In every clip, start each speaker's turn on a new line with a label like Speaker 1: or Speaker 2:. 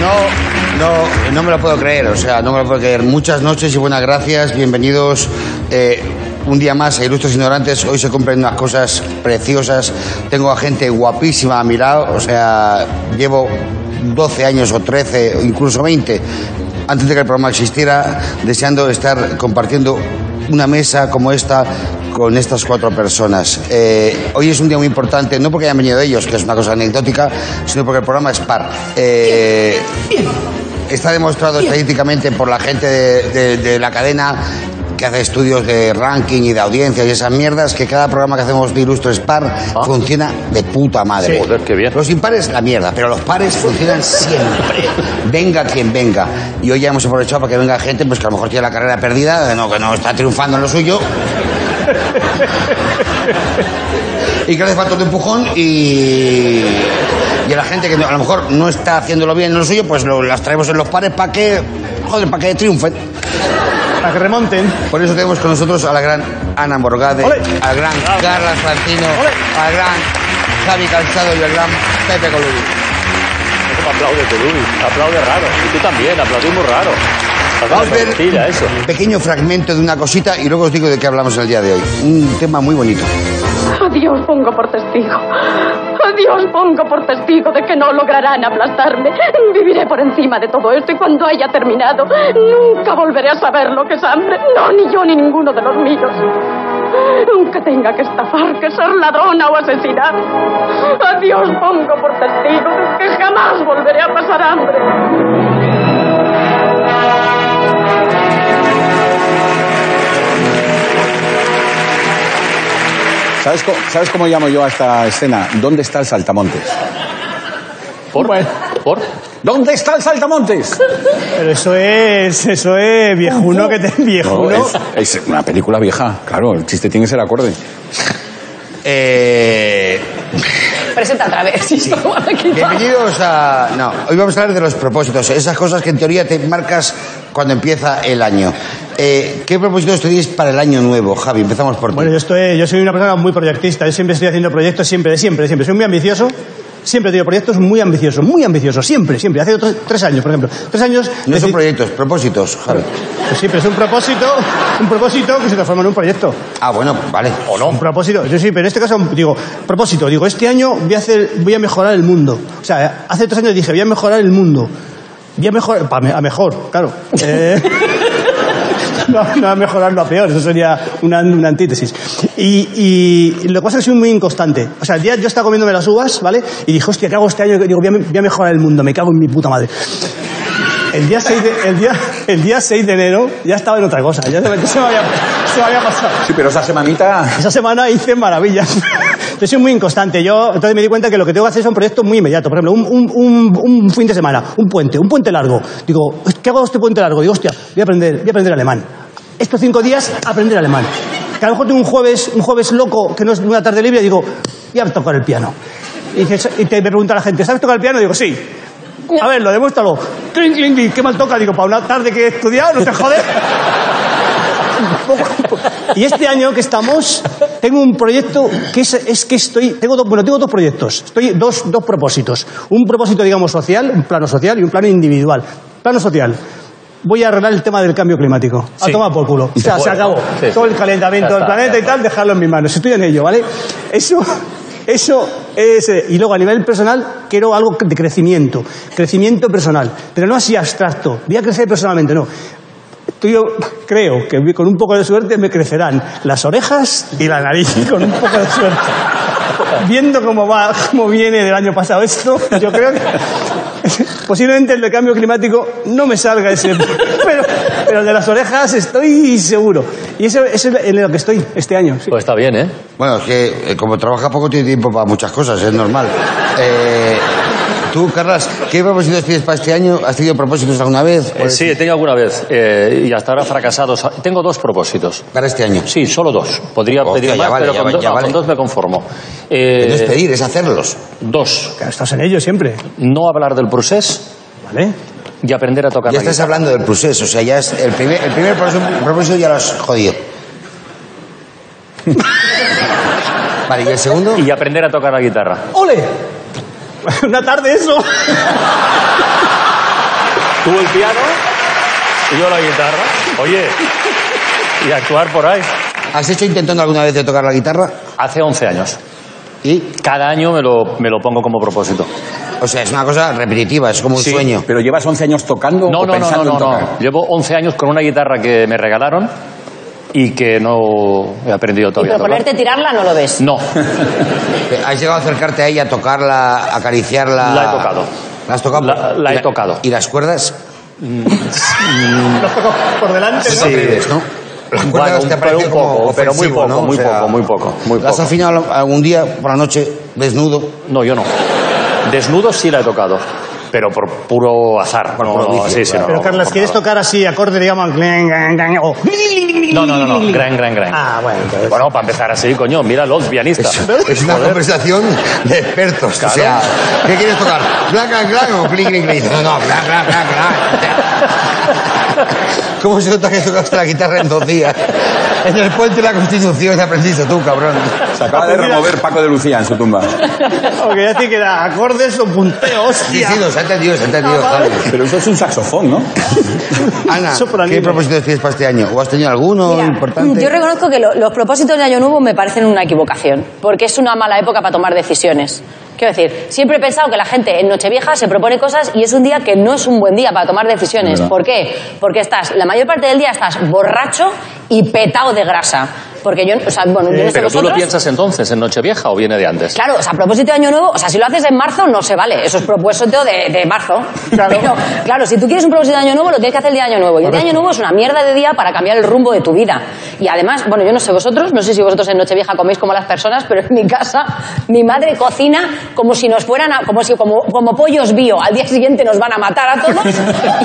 Speaker 1: No, no, no me lo puedo creer, o sea, no me lo puedo creer. Muchas noches y buenas gracias, bienvenidos. eh, un día más, a Ilustres Ignorantes, hoy se compran unas cosas preciosas. Tengo a gente guapísima a mi lado, o sea, llevo 12 años o 13, o incluso 20, antes de que el programa existiera, deseando estar compartiendo una mesa como esta con estas cuatro personas. Eh, hoy es un día muy importante, no porque hayan venido ellos, que es una cosa anecdótica, sino porque el programa es par. Eh, Está demostrado estadísticamente por la gente de, de- de la cadena que hace estudios de ranking y de audiencia y esas mierdas, que cada programa que hacemos de Ilustres Par funciona de puta madre.
Speaker 2: Ah. Sí. Joder, qué bien.
Speaker 1: Los impares, la mierda, pero los pares funcionan siempre. Venga quien venga. Y hoy ya hemos aprovechado para que venga gente pues que a lo mejor tiene la carrera perdida, que no, que no está triunfando en lo suyo. y que le hace falta un empujón y... Y a la gente que no- a lo mejor no está haciéndolo bien en lo suyo, pues lo- las traemos en los pares para que... Joder, para que triunfen.
Speaker 3: Para que remonten.
Speaker 1: Por eso tenemos con nosotros a la gran Ana Morgade,
Speaker 3: ¡Ole!
Speaker 1: al gran Carla Francino, al gran Javi Calzado y al gran Pepe Colubi.
Speaker 2: Aplaude tú, Luis. Aplaude raro. Y tú también, aplaudimos raro.
Speaker 1: Vamos
Speaker 2: Aplaude
Speaker 1: a ver.
Speaker 2: mentira, eso.
Speaker 1: Un pequeño fragmento de una cosita y luego os digo de qué hablamos el día de hoy. Un tema muy bonito.
Speaker 4: A Dios pongo por testigo. A Dios pongo por testigo de que no lograrán aplastarme. Viviré por encima de todo esto y cuando haya terminado, nunca volveré a saber lo que es hambre. No, ni yo ni ninguno de los míos. Aunque tenga que estafar, que ser ladrona o asesinar. A Dios pongo por testigo de que jamás volveré a pasar hambre.
Speaker 5: ¿Sabes, co- sabes cómo llamo yo a esta escena? ¿Dónde está el saltamontes?
Speaker 2: ¿Por? ¿Por?
Speaker 5: ¿Dónde está el saltamontes?
Speaker 3: Pero eso es, eso es viejuno que te
Speaker 5: No,
Speaker 3: viejuno.
Speaker 5: es, es una película vieja, claro, el chiste tiene que ser acorde.
Speaker 1: Eh,
Speaker 6: Presenta otra vez.
Speaker 1: bienvenidos a... No, hoy vamos a hablar de los propósitos, esas cosas que en teoría te marcas cuando empieza el año. Eh, ¿Qué propósitos tenéis para el año nuevo, Javi? Empezamos por ti.
Speaker 3: Bueno, yo, estoy, yo soy una persona muy proyectista. Yo siempre estoy haciendo proyectos, siempre, de siempre, de siempre. Soy muy ambicioso. Siempre he tenido proyectos muy ambiciosos, muy ambiciosos, siempre, siempre. Hace otros tres años, por ejemplo. Tres años.
Speaker 1: No son
Speaker 3: deci-
Speaker 1: proyectos, propósitos, Javi.
Speaker 3: Pues sí, pero es un propósito, un propósito que se transforma en un proyecto.
Speaker 1: Ah, bueno, vale. O no.
Speaker 3: Un propósito, yo sí, pero en este caso digo, propósito, digo, este año voy a hacer, voy a mejorar el mundo. O sea, hace tres años dije, voy a mejorar el mundo. Voy a mejorar, pa- a mejor, claro. Eh, no, no a mejorarlo a peor, eso sería una, una antítesis. Y, y lo que pasa es que soy muy inconstante. O sea, el día yo estaba comiéndome las uvas, ¿vale? Y dije, hostia, ¿qué hago este año? Digo, voy a, me- voy a mejorar el mundo, me cago en mi puta madre. El día 6 de, el día, el día 6 de enero ya estaba en otra cosa, ya se me, se me había, se me había pasado.
Speaker 5: Sí, pero esa semanita...
Speaker 3: Esa semana hice maravillas. Yo soy muy inconstante. Yo entonces me di cuenta que lo que tengo que hacer son proyectos muy inmediatos. Por ejemplo, un, un- un- un fin de semana, un puente, un puente largo. Digo, ¿qué hago este puente largo? Digo, hostia, voy a aprender, voy a aprender alemán. Estos cinco días, aprender alemán. Que a lo mejor tengo un jueves, un jueves loco, que no es una tarde libre, digo, voy a tocar el piano. Y, dice- y te, me pregunta la gente, ¿sabes tocar el piano? Digo, sí. A ver, lo demuéstralo. Cling, cling, cling, qué mal toca. Digo, para una tarde que he estudiado, no te jodes. Y este año que estamos, tengo un proyecto que es, es que estoy. Tengo dos- bueno, tengo dos proyectos. Estoy dos, dos propósitos. Un propósito, digamos, social, un plano social y un plano individual. Plano social. Voy a arreglar el tema del cambio climático. A tomar por culo. O sea, se acabó.
Speaker 2: Sí, sí.
Speaker 3: Todo el calentamiento
Speaker 2: Ya
Speaker 3: del
Speaker 2: está,
Speaker 3: planeta
Speaker 2: ya
Speaker 3: y tal, dejarlo en mis manos. Estoy en ello, ¿vale? Eso. Eso es. eh, Y luego a nivel personal, quiero algo de crecimiento. Crecimiento personal. Pero no así abstracto. Voy a crecer personalmente, no. Tú y yo creo que con un poco de suerte me crecerán las orejas y la nariz, con un poco de suerte. Viendo cómo va, cómo viene del año pasado esto, yo creo que posiblemente el de cambio climático no me salga ese, pero, pero el de las orejas estoy seguro. Y eso, eso es en lo que estoy este año. sí.
Speaker 2: Pues está bien, ¿eh?
Speaker 1: Bueno, es que eh, como trabaja poco tiene tiempo para muchas cosas, es normal. Eh, tú, Carlas, ¿qué propósitos tienes para este año? ¿Has tenido propósitos alguna vez?
Speaker 2: Eh, sí, he tenido alguna vez. eh, y hasta ahora fracasados. Tengo dos propósitos.
Speaker 1: Para este año.
Speaker 2: Sí, solo dos. Podría
Speaker 1: Hostia,
Speaker 2: pedir
Speaker 1: ya
Speaker 2: más,
Speaker 1: vale,
Speaker 2: pero
Speaker 1: ya
Speaker 2: con,
Speaker 1: va-
Speaker 2: dos,
Speaker 1: ya
Speaker 2: no,
Speaker 1: vale.
Speaker 2: con dos me conformo. Eh,
Speaker 1: Que No es pedir, es hacerlos.
Speaker 2: dos.
Speaker 3: Claro, estás en ello siempre,
Speaker 2: No hablar del procés
Speaker 3: ¿vale?
Speaker 2: y aprender a tocar
Speaker 1: Ya
Speaker 2: la
Speaker 1: estás hablando del proceso, o sea, ya es el primer, el primer propósito- propósito ya lo has jodido. Vale, ¿y el segundo?
Speaker 2: guitarra. Y aprender a tocar la guitarra.
Speaker 3: ¡Ole! Una tarde eso.
Speaker 2: Tú el piano y yo la guitarra. Oye, y actuar por ahí.
Speaker 1: ¿Has hecho intentando alguna vez de tocar la guitarra?
Speaker 2: Hace 11 años.
Speaker 1: Y,
Speaker 2: Cada año me lo, me lo pongo como propósito.
Speaker 1: o sea, es una cosa repetitiva, es como un
Speaker 2: Sí,
Speaker 1: sueño.
Speaker 5: Pero llevas 11 años tocando
Speaker 2: No,
Speaker 5: o
Speaker 2: no, no, no,
Speaker 5: pensando
Speaker 2: no,
Speaker 5: en tocar.
Speaker 2: no. Llevo 11 años con una guitarra que me regalaron y que no he aprendido
Speaker 6: Y
Speaker 2: todavía a tocar.
Speaker 6: proponerte tirarla no lo ves.
Speaker 2: No,
Speaker 1: ¿Has llegado a acercarte a ella, a tocarla, a acariciarla?
Speaker 2: La he tocado.
Speaker 1: ¿La has tocado?
Speaker 2: La- la he
Speaker 1: ¿Y
Speaker 2: tocado.
Speaker 1: ¿Y las cuerdas?
Speaker 3: Por delante, ¿no?
Speaker 1: No crees, ¿no? Las cuerdas
Speaker 2: un-
Speaker 1: te
Speaker 2: pero
Speaker 1: parecen
Speaker 2: un poco,
Speaker 1: como
Speaker 2: pero muy
Speaker 1: ofensivo,
Speaker 2: poco,
Speaker 1: ¿no?
Speaker 2: muy poco, muy poco, muy
Speaker 1: ¿Las
Speaker 2: poco.
Speaker 1: has afinado algún día por la noche, desnudo?
Speaker 2: no, yo no. Desnudo sí la he tocado, pero por puro azar.
Speaker 1: Por
Speaker 2: no,
Speaker 1: puro vicio,
Speaker 2: sí, sí,
Speaker 1: claro.
Speaker 2: no,
Speaker 3: Pero,
Speaker 2: no,
Speaker 3: Carlos,
Speaker 2: por
Speaker 3: ¿quieres
Speaker 2: nada.
Speaker 3: tocar así acorde, digamos? glen, glen, glen, o-
Speaker 2: No, no, no, no, gran, gran, gran.
Speaker 3: Ah, bueno, entonces-
Speaker 2: Bueno, para empezar así, coño, mira los pianistas.
Speaker 1: Es una conversación de expertos.
Speaker 2: Claro.
Speaker 1: O sea, ¿qué quieres tocar? ¿Black and o clink, clink, clink? No, no, black, black, black, black. ¿Cómo se nota que tocaste la guitarra en dos días? En el puente de la Constitución aprendiste tú, cabrón.
Speaker 5: Se acaba de remover Paco de Lucía en su tumba.
Speaker 3: O quería decir que era acordes o punteos,
Speaker 1: Sí,
Speaker 3: hostia.
Speaker 1: sí, los ha entendido, se ha entendido, Javi.
Speaker 5: Pero eso es un saxofón, ¿no?
Speaker 1: Ana,
Speaker 3: Sopranino.
Speaker 1: ¿qué propósitos tienes para este año? ¿O has tenido alguno
Speaker 6: Mira,
Speaker 1: importante?
Speaker 6: Yo reconozco que lo- los propósitos de Año Nuevo me parecen una equivocación, porque es una mala época para tomar decisiones. Quiero decir, siempre he pensado que la gente en Nochevieja se propone cosas y es un día que no es un buen día para tomar decisiones.
Speaker 5: verdad.
Speaker 6: ¿Por qué? Porque estás, la mayor parte del día estás borracho y petado de grasa. Porque yo, o sea, bueno, yo
Speaker 2: Eh,
Speaker 6: no sé
Speaker 2: Pero tú lo
Speaker 6: vosotros,
Speaker 2: piensas entonces, en Nochevieja o viene de antes.
Speaker 6: Claro, o sea, a propósito de Año Nuevo, o sea, si lo haces en marzo, no se vale. Eso es propósito de, de marzo.
Speaker 3: Claro.
Speaker 6: Pero, claro, si tú quieres un propósito de Año Nuevo, lo tienes que hacer el día de Año Nuevo. Y el día de Año Nuevo es una mierda de día para cambiar el rumbo de tu vida. Y además, bueno, yo no sé vosotros, no sé si vosotros en Nochevieja coméis como las personas, pero en mi casa, mi madre cocina como si nos fueran, a- como si, como, como pollos bio. Al día siguiente nos van a matar a todos.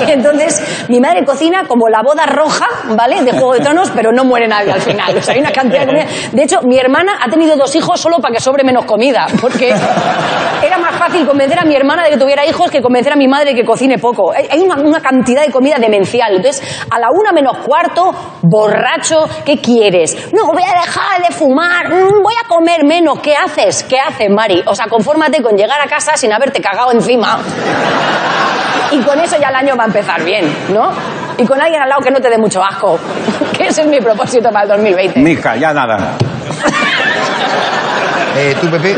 Speaker 6: Y entonces, mi madre cocina como la boda roja, ¿vale? De Juego de Tronos, pero no muere nadie al final. O sea, hay una cantidad de comida. De hecho, mi hermana ha tenido dos hijos solo para que sobre menos comida, porque era más fácil convencer a mi hermana de que tuviera hijos que convencer a mi madre que cocine poco. Hay hay una, una cantidad de comida demencial. Entonces, a la una menos cuarto, borracho, ¿qué quieres? No, voy a dejar de fumar, mm, voy a comer menos. ¿Qué haces? ¿Qué haces, Mari? O sea, confórmate con llegar a casa sin haberte cagado encima. Y con eso ya el año va a empezar bien, ¿no? Y con alguien al lado que no te dé mucho asco. Que ese es mi propósito para el 2020.
Speaker 5: Mija, ya nada.
Speaker 1: Eh, ¿Tú, Pepe?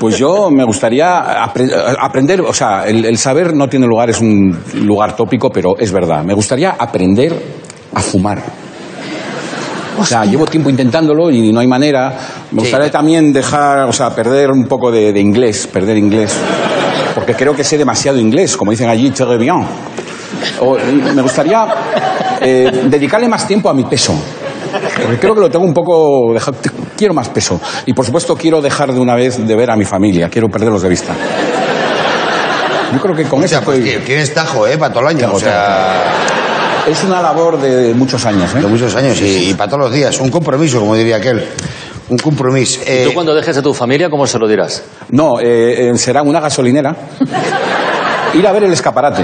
Speaker 5: Pues yo me gustaría apre- aprender, o sea, el, el saber no tiene lugar, es un lugar tópico, pero es verdad. Me gustaría aprender a fumar. O sea, llevo tiempo intentándolo y no hay manera. Me
Speaker 1: Sí.
Speaker 5: gustaría también dejar, o sea, perder un poco de, de inglés, perder inglés. Porque creo que sé demasiado inglés, como dicen allí, très bien. O, y me gustaría eh, dedicarle más tiempo a mi peso. Porque creo que lo tengo un poco. deja- te- quiero más peso. Y por supuesto, quiero dejar de una vez de ver a mi familia. Quiero perderlos de vista. Yo creo que con
Speaker 1: O
Speaker 5: eso
Speaker 1: sea, pues
Speaker 5: estoy-
Speaker 1: que- tienes tajo, ¿eh? Para todo el año.
Speaker 5: Tengo,
Speaker 1: O sea,
Speaker 5: es una labor de muchos años. ¿eh?
Speaker 1: de muchos años y, y para todos los días. Un compromiso, como diría aquel. Un compromiso. Eh,
Speaker 2: Tú cuando dejes a tu familia, ¿cómo se lo dirás?
Speaker 5: No, eh, eh, será una gasolinera. Ir a ver el escaparate.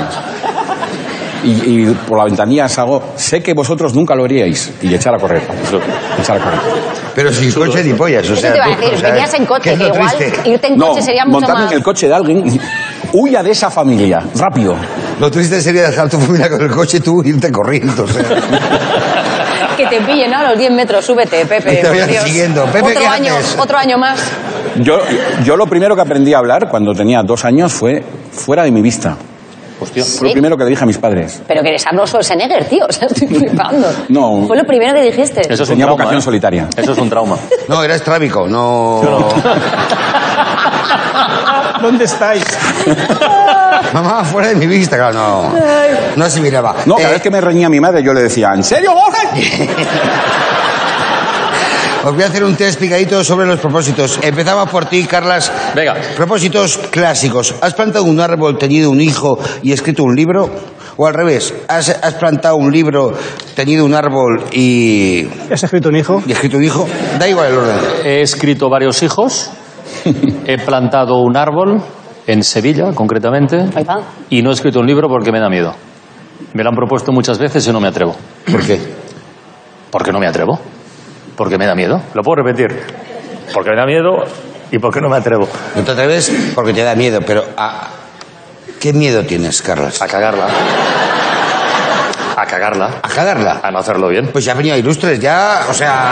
Speaker 5: Y, y por la ventanilla salgo. Sé que vosotros nunca lo haríais. Y echar a correr. Echar a correr.
Speaker 1: Pero sin coche ni pollas, o
Speaker 6: Eso
Speaker 1: sea...
Speaker 6: te iba a
Speaker 1: tú,
Speaker 6: decir,
Speaker 1: o sea,
Speaker 6: venías en
Speaker 1: ¿qué
Speaker 6: coche,
Speaker 1: es
Speaker 6: que
Speaker 1: lo
Speaker 6: igual
Speaker 1: triste?
Speaker 6: irte en coche
Speaker 5: no,
Speaker 6: sería mucho
Speaker 5: montarme
Speaker 6: más.
Speaker 5: en el coche de alguien. Huya de esa familia. Rápido.
Speaker 1: Lo triste sería dejar a tu familia con el coche y tú irte corriendo, o sea...
Speaker 6: Que te pillen, ¿no? A los 10 metros, súbete, Pepe.
Speaker 1: Ahí te
Speaker 6: por
Speaker 1: vayan
Speaker 6: Dios.
Speaker 1: siguiendo. Pepe,
Speaker 6: otro
Speaker 1: ¿qué
Speaker 6: año,
Speaker 1: haces?
Speaker 6: otro año más.
Speaker 5: Yo, yo lo primero que aprendí a hablar cuando tenía dos años fue fuera de mi vista.
Speaker 2: Hostia.
Speaker 5: Fue lo
Speaker 6: ¿Sí?
Speaker 5: primero que le dije a mis padres.
Speaker 6: Pero que eres Arnold Schwarzenegger, tío. O sea, estoy flipando.
Speaker 5: No.
Speaker 6: Fue lo primero que dijiste.
Speaker 2: Eso es
Speaker 5: Tenía
Speaker 2: un trauma,
Speaker 5: vocación
Speaker 2: ¿eh?
Speaker 5: solitaria.
Speaker 2: Eso es un trauma.
Speaker 1: No, eras trábico, no...
Speaker 3: ¿Dónde estáis?
Speaker 1: Mamá, fuera de mi vista, claro, no... No asimilaba.
Speaker 5: No, cada
Speaker 1: Eh,
Speaker 5: vez que me reñía mi madre yo le decía, ¿en serio, Jorge?
Speaker 1: Os voy a hacer un test picadito sobre los propósitos. Empezamos por ti, Carlas.
Speaker 2: Venga.
Speaker 1: Propósitos clásicos. ¿Has plantado un árbol, tenido un hijo y escrito un libro? O al revés, ¿has, has plantado un libro, tenido un árbol y,
Speaker 3: ¿Has escrito un hijo?
Speaker 1: y escrito un hijo? Da igual el orden.
Speaker 2: He escrito varios hijos, he plantado un árbol en Sevilla, concretamente,
Speaker 6: Ahí va.
Speaker 2: y no he escrito un libro porque me da miedo. Me lo han propuesto muchas veces y no me atrevo.
Speaker 1: ¿Por qué?
Speaker 2: ¿Por qué no me atrevo? Porque me da miedo. Lo puedo repetir. Porque me da miedo y porque no me atrevo.
Speaker 1: No te atreves porque te da miedo, pero a- ¿Qué miedo tienes, Carlas?
Speaker 2: A cagarla. A cagarla.
Speaker 1: ¿A cagarla?
Speaker 2: A no hacerlo bien.
Speaker 1: Pues ya ha venido a Ilustres, ya, o sea...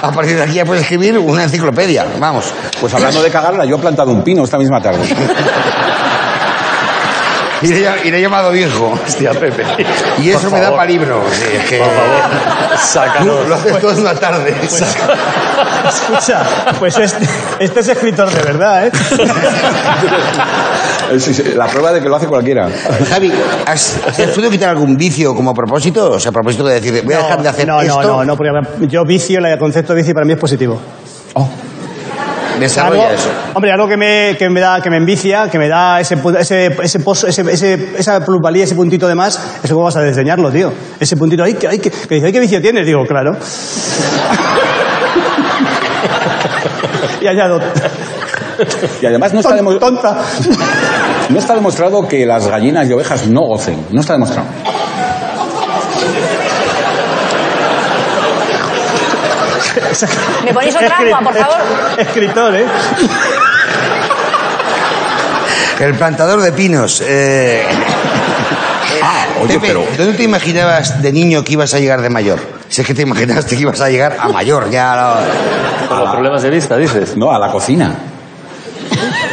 Speaker 1: A partir de aquí ya puedes escribir una enciclopedia, vamos.
Speaker 5: Pues hablando de cagarla, yo he plantado un pino esta misma tarde.
Speaker 1: Y le, he- y le he llamado viejo.
Speaker 2: Hostia, Pepe.
Speaker 1: Y eso
Speaker 2: Por
Speaker 1: me da
Speaker 2: favor.
Speaker 1: para libro. Sí, es que...
Speaker 2: Por favor, Pues sácanos.
Speaker 1: Lo haces todo en una tarde.
Speaker 3: Escucha, pues este, este es escritor de verdad, ¿eh?
Speaker 5: Eh, sí, sí, La prueba de que lo hace cualquiera.
Speaker 1: Javi, ¿has, ¿te has podido quitar algún vicio como a propósito? O sea, a propósito de decir, voy a dejar de hacer
Speaker 3: no,
Speaker 1: esto.
Speaker 3: No, no, no, porque yo vicio, el concepto de vicio para mí es positivo.
Speaker 1: Oh. Desarrolla
Speaker 3: Algo-
Speaker 1: eso.
Speaker 3: Hombre, algo que me, que me da, que me envicia, que me da ese, pu- ese, ese, pos- ese- ese- esa plusvalía, ese puntito de más, eso cómo vas a desdeñarlo, tío. Ese puntito, ay, que, ay, que, que dice, ay, qué vicio tienes, digo, claro. y añado,
Speaker 5: Y además no está, demo-
Speaker 3: tonta.
Speaker 5: no está demostrado que las gallinas y ovejas no gocen. No está demostrado.
Speaker 6: ¿Me ponéis otra agua, por favor?
Speaker 3: Escritor, ¿eh?
Speaker 1: El plantador de pinos. eh. Ah,
Speaker 5: oye,
Speaker 1: Pepe,
Speaker 5: pero-
Speaker 1: ¿Dónde te imaginabas de niño que ibas a llegar de mayor? Si es que te imaginaste que ibas a llegar a mayor, ya. no.
Speaker 2: Como problemas de vista, dices.
Speaker 5: No, a la cocina.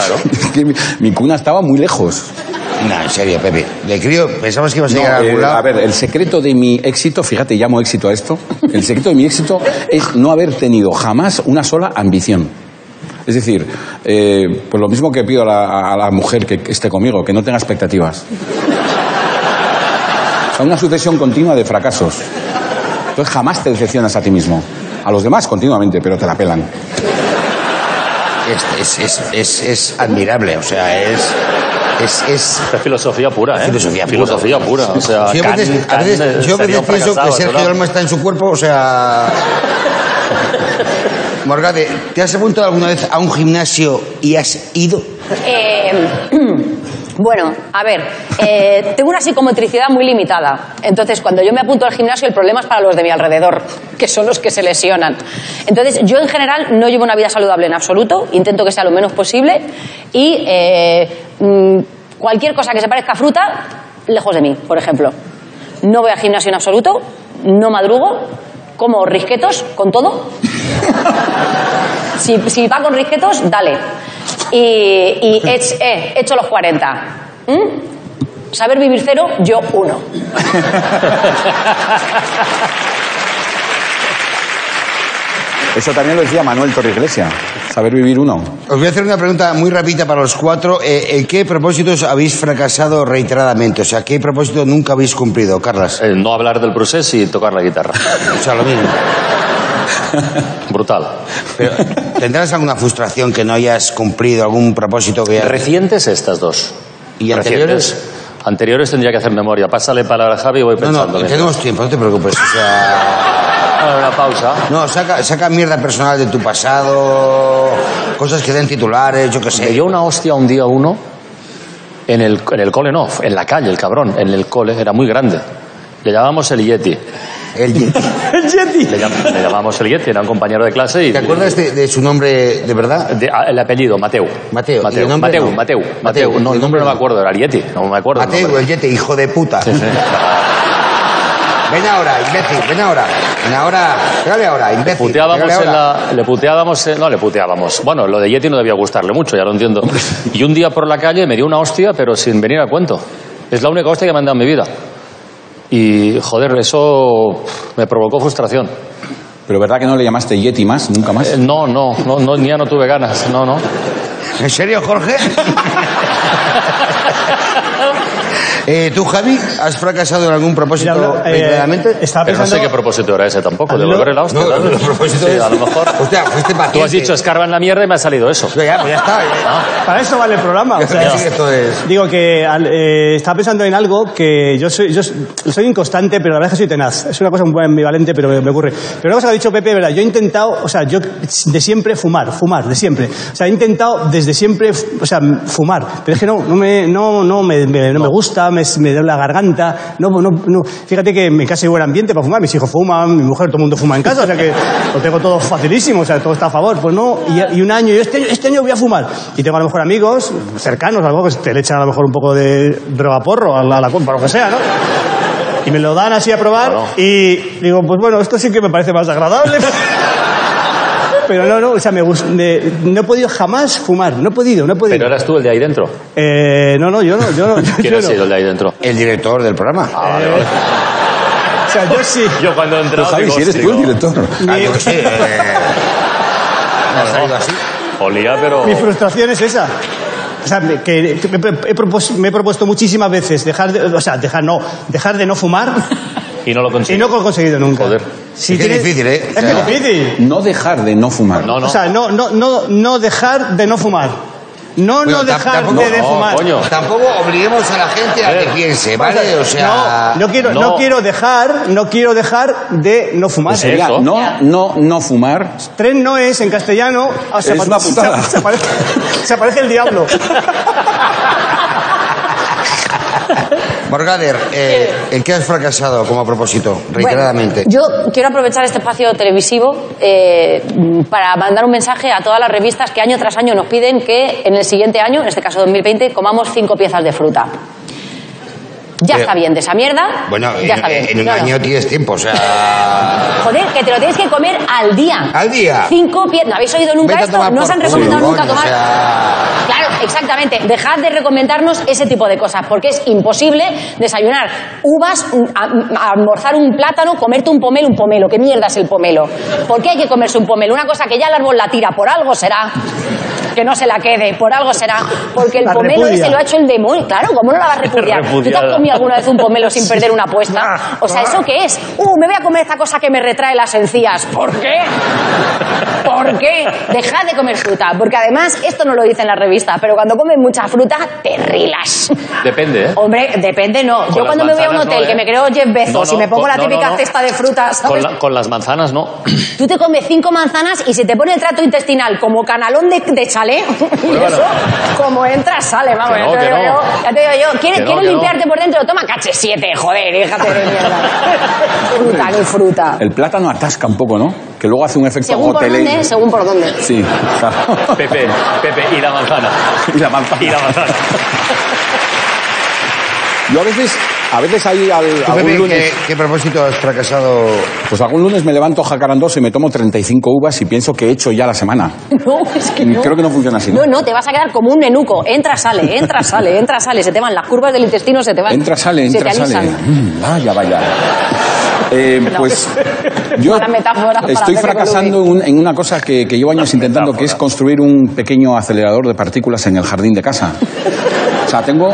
Speaker 5: Claro. mi, mi cuna estaba muy lejos.
Speaker 1: No, en serio, Pepe. De crío pensabas que ibas a
Speaker 5: No,
Speaker 1: llegar a
Speaker 5: eh,
Speaker 1: algún lado.
Speaker 5: a ver, el secreto de mi éxito, fíjate, llamo éxito a esto, el secreto de mi éxito es no haber tenido jamás una sola ambición. Es decir, eh, pues lo mismo que pido a la, a la mujer que esté conmigo, que no tenga expectativas. O sea, una sucesión continua de fracasos. Entonces jamás te decepcionas a ti mismo. A los demás continuamente, pero te la pelan.
Speaker 1: Es, es, es, es, es admirable, o sea, es. Es, es
Speaker 2: Esta es filosofía pura, ¿eh?
Speaker 1: Filosofía pura.
Speaker 2: Filosofía pura. O sea,
Speaker 1: Sí, yo a
Speaker 2: Kant-
Speaker 1: veces, a
Speaker 2: Kant,
Speaker 1: veces-
Speaker 2: eh,
Speaker 1: yo a
Speaker 2: sería
Speaker 1: veces pienso que
Speaker 2: un fracasado,
Speaker 1: Sergio
Speaker 2: ¿verdad?
Speaker 1: Dalma está en su cuerpo, o sea... Morgade, ¿te has apuntado alguna vez a un gimnasio y has ido?
Speaker 6: Eh, bueno, a ver, eh, tengo una psicomotricidad muy limitada. Entonces, cuando yo me apunto al gimnasio, el problema es para los de mi alrededor, que son los que se lesionan. Entonces, yo en general no llevo una vida saludable en absoluto, intento que sea lo menos posible y eh, mm, cualquier cosa que se parezca a fruta, lejos de mí, por ejemplo. No voy al gimnasio en absoluto, no madrugo, como risquetos con todo, si, si va con risquetos, dale. Y, y hech- eh, hecho los 40. ¿Mm? Saber vivir cero, yo uno.
Speaker 5: Eso también lo decía Manuel Torriglesia, saber vivir uno.
Speaker 1: Os voy a hacer una pregunta muy rápida para los cuatro. Eh, ¿En qué propósitos habéis fracasado reiteradamente? O sea, ¿qué propósito nunca habéis cumplido, Carlas?
Speaker 2: Eh, no hablar del proceso y tocar la guitarra.
Speaker 1: O sea, lo mismo.
Speaker 2: Brutal.
Speaker 1: Pero, ¿Tendrás alguna frustración que no hayas cumplido, algún propósito que hayas...
Speaker 2: Recientes estas dos.
Speaker 1: ¿Y anteriores?
Speaker 2: Recientes. Anteriores tendría que hacer memoria. Pásale palabra a Javi y voy
Speaker 1: No,
Speaker 2: pensando.
Speaker 1: no,
Speaker 2: mientras.
Speaker 1: tenemos tiempo, no te preocupes. O sea...
Speaker 2: Ahora una pausa.
Speaker 1: No, saca, saca mierda personal de tu pasado, cosas que den titulares, yo qué
Speaker 2: Me
Speaker 1: sé.
Speaker 2: dio una hostia un día uno en el, en el cole, no, en la calle, el cabrón, en el cole, era muy grande. Le llamábamos el Yeti.
Speaker 1: El Yeti.
Speaker 3: El Yeti.
Speaker 2: Le, llam- le llamábamos el Yeti, era un compañero de clase y...
Speaker 1: ¿Te acuerdas de, de su nombre de verdad?
Speaker 2: de- a- el apellido, Mateu.
Speaker 1: Mateo, ¿y
Speaker 2: Mateu,
Speaker 1: el nombre
Speaker 2: Mateu,
Speaker 1: no?
Speaker 2: Mateu, Mateu.
Speaker 1: Mateu,
Speaker 2: No,
Speaker 1: ¿y
Speaker 2: el
Speaker 1: el
Speaker 2: nombre
Speaker 1: nombre
Speaker 2: no me
Speaker 1: no?
Speaker 2: acuerdo, era el Yeti, no me acuerdo. el
Speaker 1: Mateo,
Speaker 2: nombre.
Speaker 1: el Yeti, hijo de puta. Ven ahora, imbécil, ven ahora. Ven ahora, pégale ahora, imbécil.
Speaker 2: Puteábamos
Speaker 1: pégale
Speaker 2: en
Speaker 1: ahora.
Speaker 2: la, le puteábamos, en- no le puteábamos. Bueno, lo de Yeti no debía gustarle mucho, ya lo entiendo. Y un día por la calle me dio una hostia, pero sin venir a cuento. Es la única hostia que me han dado en mi vida. Y joder, eso me provocó frustración.
Speaker 5: Pero ¿verdad que no le llamaste Yeti más, nunca más?
Speaker 2: Eh, No, no, no, no, ni ya no tuve ganas, no, no.
Speaker 1: ¿En serio, Jorge? Eh, ¿Tú, Javi, has fracasado en algún propósito
Speaker 3: Mira, eh,
Speaker 1: reiteradamente?
Speaker 3: estaba
Speaker 2: Pero no
Speaker 3: pensando...
Speaker 2: sé qué propósito era ese tampoco, de
Speaker 3: No,
Speaker 2: volver la hostia.
Speaker 1: No,
Speaker 2: ¿verdad?
Speaker 1: los propósitos...
Speaker 2: Sí, a lo mejor.
Speaker 1: Hostia, fuiste paciente.
Speaker 2: Tú has dicho escarba en la mierda y me ha salido eso.
Speaker 1: Ya, pues ya está. ya-
Speaker 2: Ah,
Speaker 3: Para eso vale el programa. o sea,
Speaker 1: Ya. Sí, esto es-
Speaker 3: Digo que al- eh, estaba pensando en algo que yo soy, yo soy inconstante, pero la verdad es que soy tenaz. Es una cosa un poco ambivalente, pero me, me ocurre. Pero una cosa que ha dicho Pepe, ¿verdad? Yo he intentado, o sea, yo de siempre fumar, fumar, de siempre. O sea, he intentado desde desde siempre, o sea, fumar. Pero es que no, no me, no, no me, me- no me gusta, me, me da la garganta. No, no, no. Fíjate que en mi casa hay buen ambiente para fumar. Mis hijos fuman, mi mujer, todo el mundo fuma en casa. O sea que lo tengo todo facilísimo, o sea, todo está a favor. Pues no, y, y un año, yo este, este año voy a fumar. Y tengo a lo mejor amigos cercanos, algo que te le echan a lo mejor un poco de droga porro a la, a la compra, lo que sea, ¿no? Y me lo dan así a probar y digo, pues bueno, esto sí que me parece más agradable. Pero no, no, o sea, me, gust- me- no he podido jamás fumar, no he podido, no he podido.
Speaker 2: Pero eras tú el de ahí dentro.
Speaker 3: Eh, no, no, yo no, yo no. yo
Speaker 2: ¿Quién ha
Speaker 3: no.
Speaker 2: sido el de ahí dentro?
Speaker 1: El director del programa.
Speaker 2: Ah, vale, vale.
Speaker 3: O sea, yo sí.
Speaker 2: Yo cuando he entrado.
Speaker 5: Pues, Javi,
Speaker 2: digo,
Speaker 5: si eres tú el
Speaker 2: digo,
Speaker 5: director.
Speaker 1: Ah, yo qué sé, eh, me ha salido así.
Speaker 2: Olía, pero.
Speaker 3: Mi frustración es esa. O sea, me- que que me, he propus- me he propuesto muchísimas veces dejar de, o sea, dejar no, dejar de no fumar
Speaker 2: Y no lo
Speaker 3: y
Speaker 2: conseguí.
Speaker 3: no lo he conseguido nunca.
Speaker 2: Joder.
Speaker 3: Si
Speaker 1: Es que es difícil, ¿eh?
Speaker 3: Es que es difícil.
Speaker 5: No dejar de no fumar.
Speaker 2: No, no.
Speaker 3: O sea, no, no, no, no dejar de no fumar. No,
Speaker 1: Bueno,
Speaker 3: no
Speaker 1: tam-
Speaker 3: dejar
Speaker 1: tampoco-
Speaker 3: de, de
Speaker 2: no,
Speaker 3: fumar.
Speaker 2: coño.
Speaker 1: Tampoco obliguemos a la gente a que
Speaker 2: ver,
Speaker 1: piense, ¿vale? O sea,
Speaker 3: no, no quiero, no.
Speaker 2: no.
Speaker 3: quiero dejar, no quiero dejar de no fumar.
Speaker 2: Pues
Speaker 5: Sería
Speaker 2: Eso.
Speaker 5: no, no, no fumar.
Speaker 3: Tren no es en castellano. ah, se
Speaker 5: Es
Speaker 3: apa-
Speaker 5: una putada.
Speaker 3: Se, se aparece, se aparece el diablo.
Speaker 1: Morgader, eh, ¿en qué has fracasado como a propósito? Reiteradamente.
Speaker 6: Bueno, yo quiero aprovechar este espacio televisivo eh, para mandar un mensaje a todas las revistas que año tras año nos piden que en el siguiente año, en este caso 2020, comamos cinco piezas de fruta. Ya
Speaker 1: Pero-
Speaker 6: está bien de esa mierda.
Speaker 1: Eh, Bueno,
Speaker 6: ya
Speaker 1: en,
Speaker 6: está bien.
Speaker 1: en un
Speaker 6: No, no.
Speaker 1: año tienes tiempo, o sea.
Speaker 6: Joder, que te lo tienes que comer al día.
Speaker 1: Al día.
Speaker 6: Cinco piezas. ¿No habéis oído nunca
Speaker 1: vete a
Speaker 6: esto?
Speaker 1: tomar
Speaker 6: No
Speaker 1: por
Speaker 6: os han
Speaker 1: culo,
Speaker 6: recomendado nunca
Speaker 1: coño,
Speaker 6: tomar.
Speaker 1: O sea,
Speaker 6: Claro, exactamente. Dejad de recomendarnos ese tipo de cosas, porque es imposible desayunar uvas, un- a- a- almorzar un plátano, comerte un pomelo, un pomelo. ¿Qué mierda es el pomelo? ¿Por qué hay que comerse un pomelo? Una cosa que ya el árbol la tira, por algo será. Que no se la quede, por algo será. Porque el
Speaker 3: La
Speaker 6: pomelo
Speaker 3: repudia.
Speaker 6: ese lo ha hecho el demonio. Claro, ¿cómo no la vas a repudiar? ¿Tú te has
Speaker 2: Repudiada.
Speaker 6: comido alguna vez un pomelo sin perder una apuesta? O sea, ¿eso qué es? Uh, me voy a comer esta cosa que me retrae las encías. ¿Por qué? ¿Por qué? Dejad de comer fruta, porque además esto no lo dice en la revista, pero cuando comes mucha fruta te rilas.
Speaker 2: Depende, ¿eh?
Speaker 6: Hombre, depende, no. Yo
Speaker 2: las
Speaker 6: cuando me voy a un
Speaker 2: manzanas no,
Speaker 6: hotel
Speaker 2: ¿eh?
Speaker 6: que me creo Jeff Bezos
Speaker 2: No, no,
Speaker 6: y me pongo
Speaker 2: con-
Speaker 6: la
Speaker 2: no, no,
Speaker 6: típica
Speaker 2: no.
Speaker 6: cesta de fruta,
Speaker 2: Con,
Speaker 6: ¿sabes?
Speaker 2: la- con las manzanas no.
Speaker 6: Tú te comes cinco manzanas y se te pone el trato intestinal como canalón de, de chalé. y
Speaker 2: Pruébalo.
Speaker 6: eso, como entras, sale, vamos.
Speaker 2: Que no,
Speaker 6: ya te
Speaker 2: que
Speaker 6: digo
Speaker 2: no.
Speaker 6: yo, ya te digo
Speaker 2: Que no,
Speaker 6: yo. ¿Quieres, quieres
Speaker 2: que no.
Speaker 6: limpiarte por dentro? Toma cache 7, joder, déjate de mierda. fruta, ni fruta.
Speaker 5: El plátano atasca un poco, ¿no? Que luego hace un efecto
Speaker 6: Según por
Speaker 5: hotelero.
Speaker 6: dónde, según por dónde.
Speaker 5: Sí, claro.
Speaker 2: Pepe, Pepe, y la manzana.
Speaker 5: Y la manzana.
Speaker 2: Y la manzana.
Speaker 5: Yo a veces, a veces ahí al,
Speaker 1: ¿Tú,
Speaker 5: algún
Speaker 1: Pepe,
Speaker 5: lunes,
Speaker 1: ¿qué, qué propósito has fracasado?
Speaker 5: pues algún lunes me levanto jacarandoso y me tomo 35 uvas y pienso que he hecho ya la semana.
Speaker 6: No, es que no.
Speaker 5: Creo que no funciona así, ¿no?
Speaker 6: No, no, te vas a quedar como un nenuco. Entra, sale, entra, sale, entra, sale. Se te van las curvas del intestino, se te van.
Speaker 5: Entra, sale,
Speaker 6: se
Speaker 5: entra,
Speaker 6: te
Speaker 5: sale.
Speaker 6: alisan.
Speaker 5: Mm, vaya, vaya. Eh, Pues yo
Speaker 6: Mala metáfora para
Speaker 5: estoy
Speaker 6: hacer
Speaker 5: fracasando en, un- en una cosa que, que llevo años intentando, que es construir un pequeño acelerador de partículas en el jardín de casa. O sea, tengo,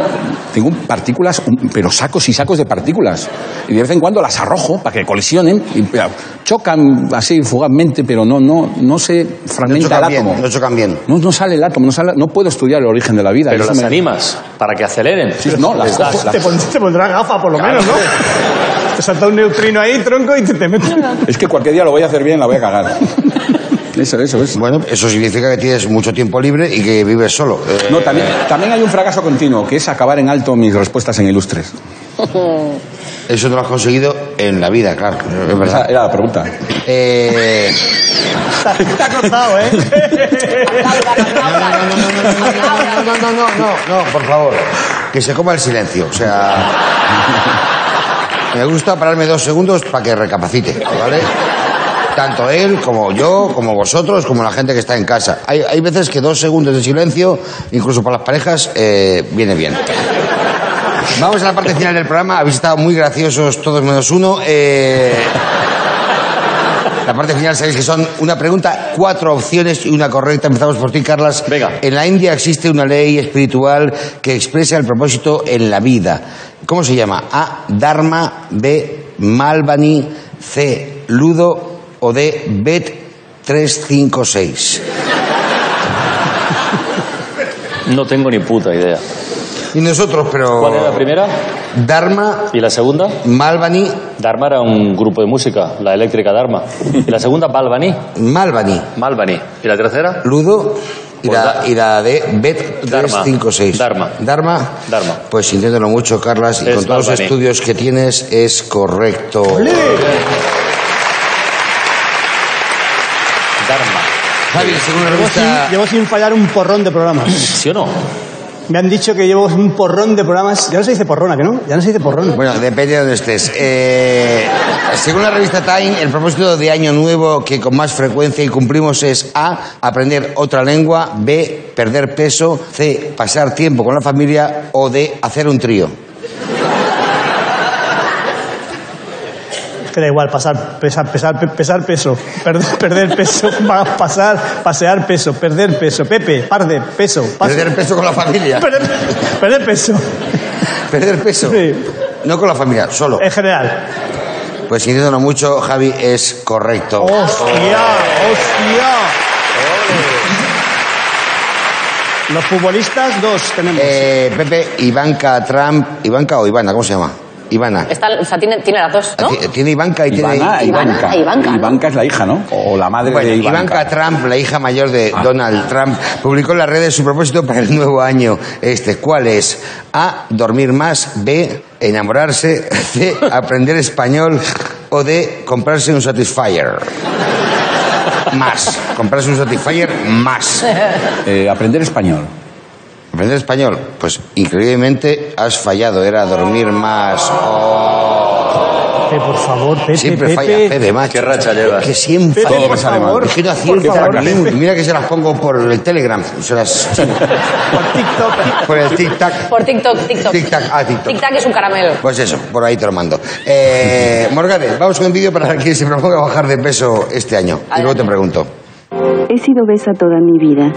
Speaker 5: tengo partículas, un- pero sacos y sacos de partículas. Y de vez en cuando las arrojo para que colisionen. Y, mira, chocan así fugazmente, pero no, no, no se
Speaker 1: No
Speaker 5: fragmenta
Speaker 1: chocan
Speaker 5: el átomo.
Speaker 1: bien, no chocan bien.
Speaker 5: No, no sale el átomo, no, sale- no puedo estudiar el origen de la vida.
Speaker 2: Pero
Speaker 5: Eso
Speaker 2: las
Speaker 5: me-
Speaker 2: animas para que aceleren.
Speaker 5: Sí, no, las,
Speaker 2: das-
Speaker 5: cojo, las-
Speaker 3: Te, pon- te pondrá gafa, por lo menos, ¿no? Te salta un neutrino ahí, tronco, y te, te mete.
Speaker 5: Es que cualquier día lo voy a hacer bien, la voy a cagar. Eso, eso, eso.
Speaker 1: Bueno, eso significa que tienes mucho tiempo libre y que vives solo. Eh,
Speaker 5: No, también, también hay un fracaso continuo, que es acabar en alto mis respuestas en ilustres.
Speaker 1: Eso no lo has conseguido en la vida, claro. Es
Speaker 5: Esa
Speaker 1: verdad.
Speaker 5: era la pregunta.
Speaker 1: Eh,
Speaker 3: Te ha cortado, ¿eh?
Speaker 1: no, no, no, no, no, no, por favor. Que se coma el silencio. O sea. Me gusta pararme dos segundos para que recapacite, ¿vale? Tanto él como yo, como vosotros, como la gente que está en casa. Hay, hay veces que dos segundos de silencio, incluso para las parejas, eh, viene bien. Vamos a la parte final del programa. Habéis estado muy graciosos todos menos uno. Eh, La parte final sabéis que son una pregunta, cuatro opciones y una correcta. Empezamos por ti, Carlas.
Speaker 2: Venga.
Speaker 1: En la India existe una ley espiritual que expresa el propósito en la vida. ¿Cómo se llama? A. Dharma. B. Malvani. C. Ludo. O D. Bet 356.
Speaker 2: No tengo ni puta idea.
Speaker 1: Y nosotros, pero.
Speaker 2: ¿Cuál era la primera?
Speaker 1: Dharma.
Speaker 2: ¿Y la segunda?
Speaker 1: Malvani.
Speaker 2: Dharma era un grupo de música, la eléctrica Dharma. ¿Y la segunda? Balvani.
Speaker 1: Malvani.
Speaker 2: Malvani. ¿Y la tercera?
Speaker 1: Ludo. Y la,
Speaker 2: Pues da-
Speaker 1: y la de Bet
Speaker 2: Dharma.
Speaker 1: 356.
Speaker 2: Dharma.
Speaker 1: Dharma.
Speaker 2: Dharma.
Speaker 1: Pues inténtalo mucho, Carlas. Y
Speaker 2: Es
Speaker 1: con todos los
Speaker 2: Balbani.
Speaker 1: estudios que tienes, es correcto.
Speaker 2: Dharma.
Speaker 1: Javi, según la
Speaker 3: Llevo sin,
Speaker 1: revista.
Speaker 3: llevo sin fallar un porrón de programas.
Speaker 2: ¿Sí o no?
Speaker 3: Me han dicho que llevo un porrón de programas. Ya no se dice porrona, ¿que no? Ya no se dice porrón.
Speaker 1: Bueno, depende de donde estés. Eh, según la revista Time, el propósito de año nuevo que con más frecuencia y cumplimos es A. Aprender otra lengua. B. Perder peso. C. Pasar tiempo con la familia. O D. Hacer un trío.
Speaker 3: Que da igual, pasar, pesar, pesar, pe- pesar peso. Perder, perder peso, pa- pasar, pasear peso, perder peso. Pepe, parde, peso, pas-
Speaker 1: Perder peso con la familia.
Speaker 3: Perder, perder peso.
Speaker 1: Perder peso.
Speaker 3: Sí. Eh.
Speaker 1: No con la familia, solo.
Speaker 3: En general.
Speaker 1: Pues inténtalo mucho, Javi, es correcto.
Speaker 3: Oh. ¡Hostia! ¡Hostia! Los futbolistas, dos tenemos.
Speaker 1: Eh, Pepe, Ivanka Trump. Ivanka o Ivana, ¿cómo se llama? Ivana.
Speaker 6: Está, o sea, tiene, tiene las dos, ¿no?
Speaker 1: Ti- Tiene Ivanka y
Speaker 5: Ivana,
Speaker 1: tiene.
Speaker 6: Ivanka,
Speaker 5: Ivanka.
Speaker 6: Ah, Ivanka, ¿no?
Speaker 5: Ivanka es la hija, ¿no? O la madre
Speaker 1: Bueno,
Speaker 5: de
Speaker 1: Ivanka.
Speaker 5: Ivanka.
Speaker 1: Trump, Ah. la hija mayor de Donald Trump, publicó en las redes su propósito para el nuevo año. Este, ¿cuál es? A. Dormir más. B. Enamorarse. C. Aprender español. O D. Comprarse un Satisfyer. Más. Comprarse un Satisfyer más.
Speaker 5: Eh, aprender español.
Speaker 1: Aprender español. Pues increíblemente has fallado. Era dormir más. Oh.
Speaker 3: Pepe, por favor, Pepe,
Speaker 1: Siempre
Speaker 3: Pepe.
Speaker 1: falla Pepe, macho.
Speaker 2: Qué racha llevas.
Speaker 1: Que siempre.
Speaker 3: Pepe,
Speaker 5: Todo
Speaker 3: por
Speaker 5: me sale mal.
Speaker 3: favor,
Speaker 1: Es que no
Speaker 3: por
Speaker 1: acierta
Speaker 3: favor,
Speaker 1: la
Speaker 3: Pepe.
Speaker 1: cruz. Mira que se las pongo por el Telegram. Se las
Speaker 3: Por TikTok.
Speaker 1: Por el tic-tac.
Speaker 6: Por TikTok, TikTok.
Speaker 1: Tic-tac, ah, tic-tac.
Speaker 6: Tic-tac es un caramelo.
Speaker 1: Pues eso, por ahí te lo mando. Eh, Morgade, vamos con un vídeo para que se proponga bajar de peso este año. Y luego te pregunto.
Speaker 7: He sido obesa toda mi vida.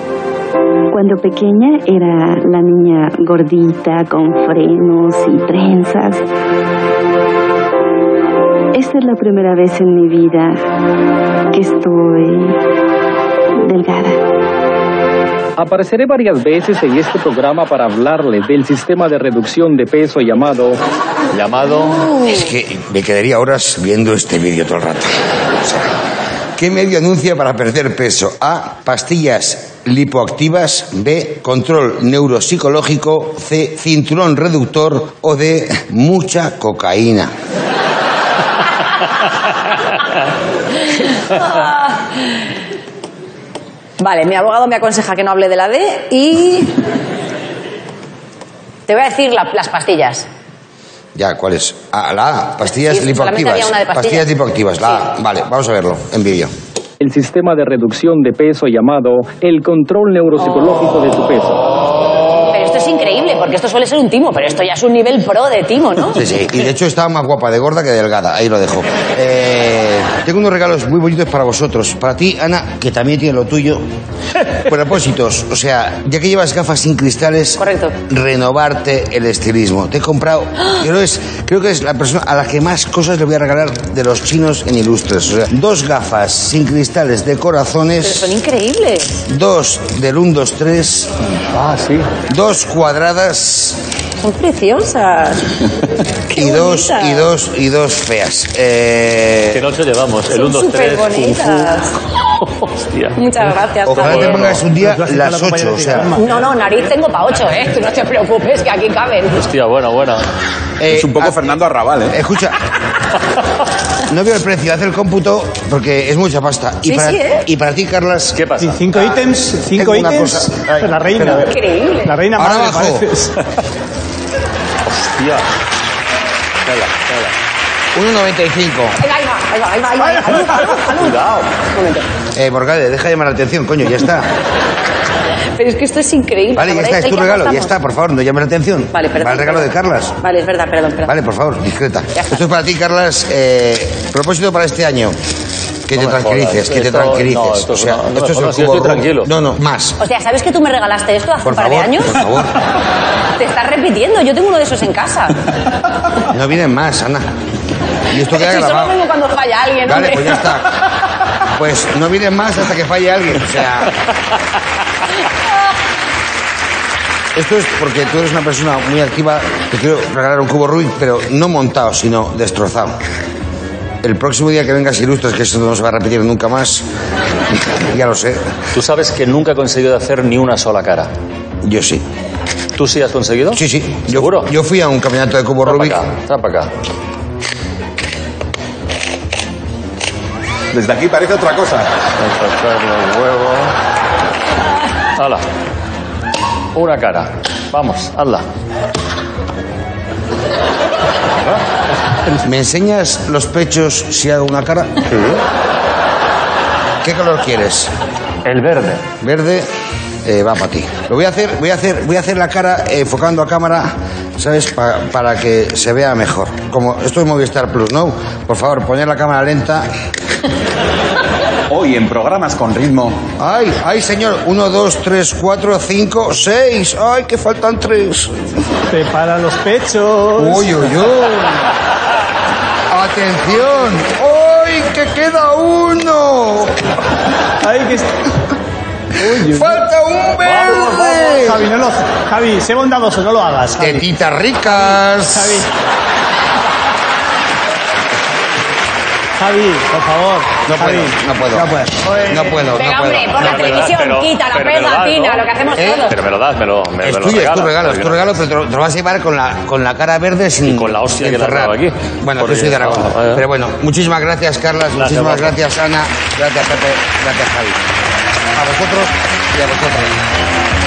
Speaker 7: Cuando pequeña era la niña gordita, con frenos y trenzas. Esta es la primera vez en mi vida que estoy delgada.
Speaker 8: Apareceré varias veces en este programa para hablarle del sistema de reducción de peso llamado
Speaker 2: Llamado.
Speaker 1: Es que me quedaría horas viendo este vídeo todo el rato. O sea, ¿Qué medio anuncia para perder peso? A. Pastillas lipoactivas. B. Control neuropsicológico. C. Cinturón reductor. O D. Mucha cocaína.
Speaker 6: Vale, mi abogado me aconseja que no hable de la D y. Te voy a decir la- las pastillas.
Speaker 1: Ya, ¿cuál es? Ah, la A. Pastillas
Speaker 6: Sí, solamente
Speaker 1: lipoactivas.
Speaker 6: había una de pastillas.
Speaker 1: lipoactivas. La A. Vale, vamos a verlo en vídeo.
Speaker 8: el sistema de reducción de peso llamado el control neuropsicológico de tu peso.
Speaker 6: Pero esto es increíble, porque esto suele ser un timo, pero esto ya es un nivel pro de timo, ¿no?
Speaker 1: Sí, sí. Y de hecho estaba más guapa de gorda que delgada. Ahí lo dejo. Eh, tengo unos regalos muy bonitos para vosotros. Para ti, Ana, que también tiene lo tuyo. Propósitos. O sea, ya que llevas gafas sin cristales.
Speaker 6: Correcto.
Speaker 1: Renovarte el estilismo. Te he comprado. Creo, es, creo que es la persona a la que más cosas le voy a regalar de los chinos en ilustres. O sea, dos gafas sin cristales de
Speaker 6: Pero
Speaker 1: corazones.
Speaker 6: son increíbles.
Speaker 1: Dos del 1, 2, 3.
Speaker 5: Ah, sí.
Speaker 1: Dos cuadradas.
Speaker 6: Son preciosas. Qué
Speaker 1: y dos,
Speaker 6: bonitas.
Speaker 1: y dos, y dos feas. Eh,
Speaker 2: ¿Qué noche llevamos? El 1, 2, 3.
Speaker 6: bonitas.
Speaker 2: Hostia.
Speaker 6: Muchas gracias,
Speaker 1: Ojalá te
Speaker 6: Javier.
Speaker 1: pongas un día
Speaker 3: Pero tú has
Speaker 1: las
Speaker 3: hecho la
Speaker 1: 8, o sea.
Speaker 3: compañera
Speaker 6: No, no, nariz tengo pa' ocho, ¿eh? Tú no te preocupes, que aquí caben.
Speaker 2: Hostia, buena, buena.
Speaker 1: eh,
Speaker 5: es un poco
Speaker 1: haz-
Speaker 5: Fernando Arrabal, ¿eh?
Speaker 1: Escucha. No veo el precio, haz el cómputo porque es mucha pasta. Y,
Speaker 6: Sí,
Speaker 1: para,
Speaker 6: sí, ¿eh?
Speaker 1: y para ti, Carlas,
Speaker 2: ¿Qué
Speaker 3: Sí,
Speaker 2: pasa?
Speaker 3: cinco ítems, cinco
Speaker 1: Ah, una
Speaker 3: ítems.
Speaker 1: cosa. Ay,
Speaker 3: la reina.
Speaker 1: espera.
Speaker 6: Increíble.
Speaker 3: La reina
Speaker 1: Ahora
Speaker 3: madre,
Speaker 1: abajo.
Speaker 3: pareces.
Speaker 2: Hostia. Calla, calla.
Speaker 1: 1.95.
Speaker 6: Venga, ahí va, ahí va, ahí va, ahí va, ahí va. Salud, salud, salud.
Speaker 2: Cuidado.
Speaker 6: Un momento.
Speaker 1: Eh, Morgade, deja de llamar la atención, coño, ya está.
Speaker 6: Pero es que esto es increíble.
Speaker 1: Vale, ya
Speaker 6: ¿Os
Speaker 1: está,
Speaker 6: acordáis
Speaker 1: es tu
Speaker 6: del que
Speaker 1: regalo, ya
Speaker 6: hablamos?
Speaker 1: está, por favor, no llames la atención.
Speaker 6: Vale, perdón.
Speaker 1: Para el regalo de
Speaker 6: perdón.
Speaker 1: Carlas.
Speaker 6: Vale, es verdad, perdón, perdón.
Speaker 1: Vale, por favor, discreta.
Speaker 6: Ya está.
Speaker 1: Esto es para ti, Carlas. Eh, propósito para este año. Que
Speaker 2: No
Speaker 1: te
Speaker 2: me
Speaker 1: tranquilices,
Speaker 2: jodas.
Speaker 1: que te
Speaker 2: Esto-
Speaker 1: tranquilices.
Speaker 2: no, esto
Speaker 1: o
Speaker 2: es
Speaker 1: sea,
Speaker 2: una- no me
Speaker 1: esto es el
Speaker 2: jodas, yo
Speaker 1: cubo
Speaker 2: estoy
Speaker 1: Rubik.
Speaker 2: tranquilo.
Speaker 1: No, no, más.
Speaker 6: O sea, ¿sabes que tú me regalaste esto hace
Speaker 1: Por
Speaker 6: un par
Speaker 1: favor,
Speaker 6: de años?
Speaker 1: por favor.
Speaker 6: Te estás repitiendo, yo tengo uno de esos en casa.
Speaker 1: No vienen más, Ana. Y esto queda
Speaker 6: Si solo
Speaker 1: grabado.
Speaker 6: vengo cuando falla alguien,
Speaker 1: Vale,
Speaker 6: hombre.
Speaker 1: pues ya está. Pues no vienen más hasta que falle alguien. O sea. Esto es porque tú eres una persona muy activa. Te quiero regalar un cubo Rubik, pero no montado, sino destrozado. el próximo día que vengas ilustres, que esto no se va a repetir nunca más, ya lo sé,
Speaker 2: Tú sabes que nunca he conseguido hacer ni una sola cara.
Speaker 1: yo sí.
Speaker 2: ¿Tú sí has conseguido?
Speaker 1: Sí, sí. Yo,
Speaker 2: ¿Seguro?
Speaker 1: Yo fui a un campeonato de cubo
Speaker 2: Trae
Speaker 1: Rubik.
Speaker 2: para acá, trae para acá.
Speaker 5: Desde aquí parece otra cosa.
Speaker 2: Hala. Una cara. Vamos, hazla.
Speaker 1: ¿Me enseñas los pechos si hago una cara? ¿Qué color quieres?
Speaker 2: El verde.
Speaker 1: Verde eh, va para ti. Lo voy a hacer, voy a hacer, voy a hacer la cara eh, enfocando a cámara, ¿sabes? Pa- para que se vea mejor. Como esto es Movistar Plus, ¿no? Por favor, poner la cámara lenta.
Speaker 5: Hoy en programas con ritmo.
Speaker 1: Ay, ay, señor. Uno, dos, tres, cuatro, cinco, seis. Ay, que faltan tres.
Speaker 3: Prepara los pechos.
Speaker 1: Uy, uy, uy. Atención. Ay, que queda uno.
Speaker 3: Ay, que... es- Uy, Dios.
Speaker 1: Falta un
Speaker 3: Vamos, vamos,
Speaker 1: verde.
Speaker 3: Javi, no lo... Javi, sé bondadoso, no lo hagas. Javi.
Speaker 1: Tetitas
Speaker 3: Javi.
Speaker 1: ricas.
Speaker 3: Javi, por favor.
Speaker 1: No
Speaker 3: Javi.
Speaker 1: puedo, no puedo.
Speaker 3: No puedes.
Speaker 1: Joder. No puedo,
Speaker 6: Venga,
Speaker 1: no puedo.
Speaker 6: hombre, por la
Speaker 2: No, pero-
Speaker 6: televisión,
Speaker 2: pero-
Speaker 6: quita, la
Speaker 2: pero me lo
Speaker 6: pega,
Speaker 2: das,
Speaker 6: tina,
Speaker 2: ¿no?
Speaker 6: lo que hacemos
Speaker 1: ¿Eh?
Speaker 6: todos.
Speaker 2: Pero me lo das, me lo, me, me
Speaker 1: Es
Speaker 2: lo
Speaker 1: tuyo, es tu
Speaker 2: regalas,
Speaker 1: regalo, es tu
Speaker 2: porque no-
Speaker 1: regalo, pero te lo, te lo vas a llevar con la, con la cara verde sin.
Speaker 2: Y con la hostia
Speaker 1: sin
Speaker 2: que le has
Speaker 1: cerrar.
Speaker 2: dado aquí.
Speaker 1: Bueno,
Speaker 2: Por
Speaker 1: yo soy de
Speaker 2: ello.
Speaker 1: Aragón.
Speaker 2: Ah, vaya.
Speaker 1: Pero bueno, muchísimas gracias, Carlas,
Speaker 2: Gracias,
Speaker 1: muchísimas
Speaker 2: Paco.
Speaker 1: gracias, Ana, gracias, Pepe, gracias, Javi. A vosotros y a vosotros.